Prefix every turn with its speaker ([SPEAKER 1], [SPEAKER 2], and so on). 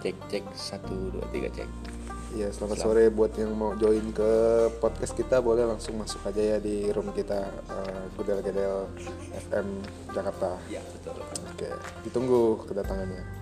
[SPEAKER 1] cek cek satu dua tiga cek
[SPEAKER 2] Iya, selamat, sore buat yang mau join ke podcast kita boleh langsung masuk aja ya di room kita eh, Gudel Gedel FM Jakarta.
[SPEAKER 1] ya betul
[SPEAKER 2] Oke, ditunggu kedatangannya.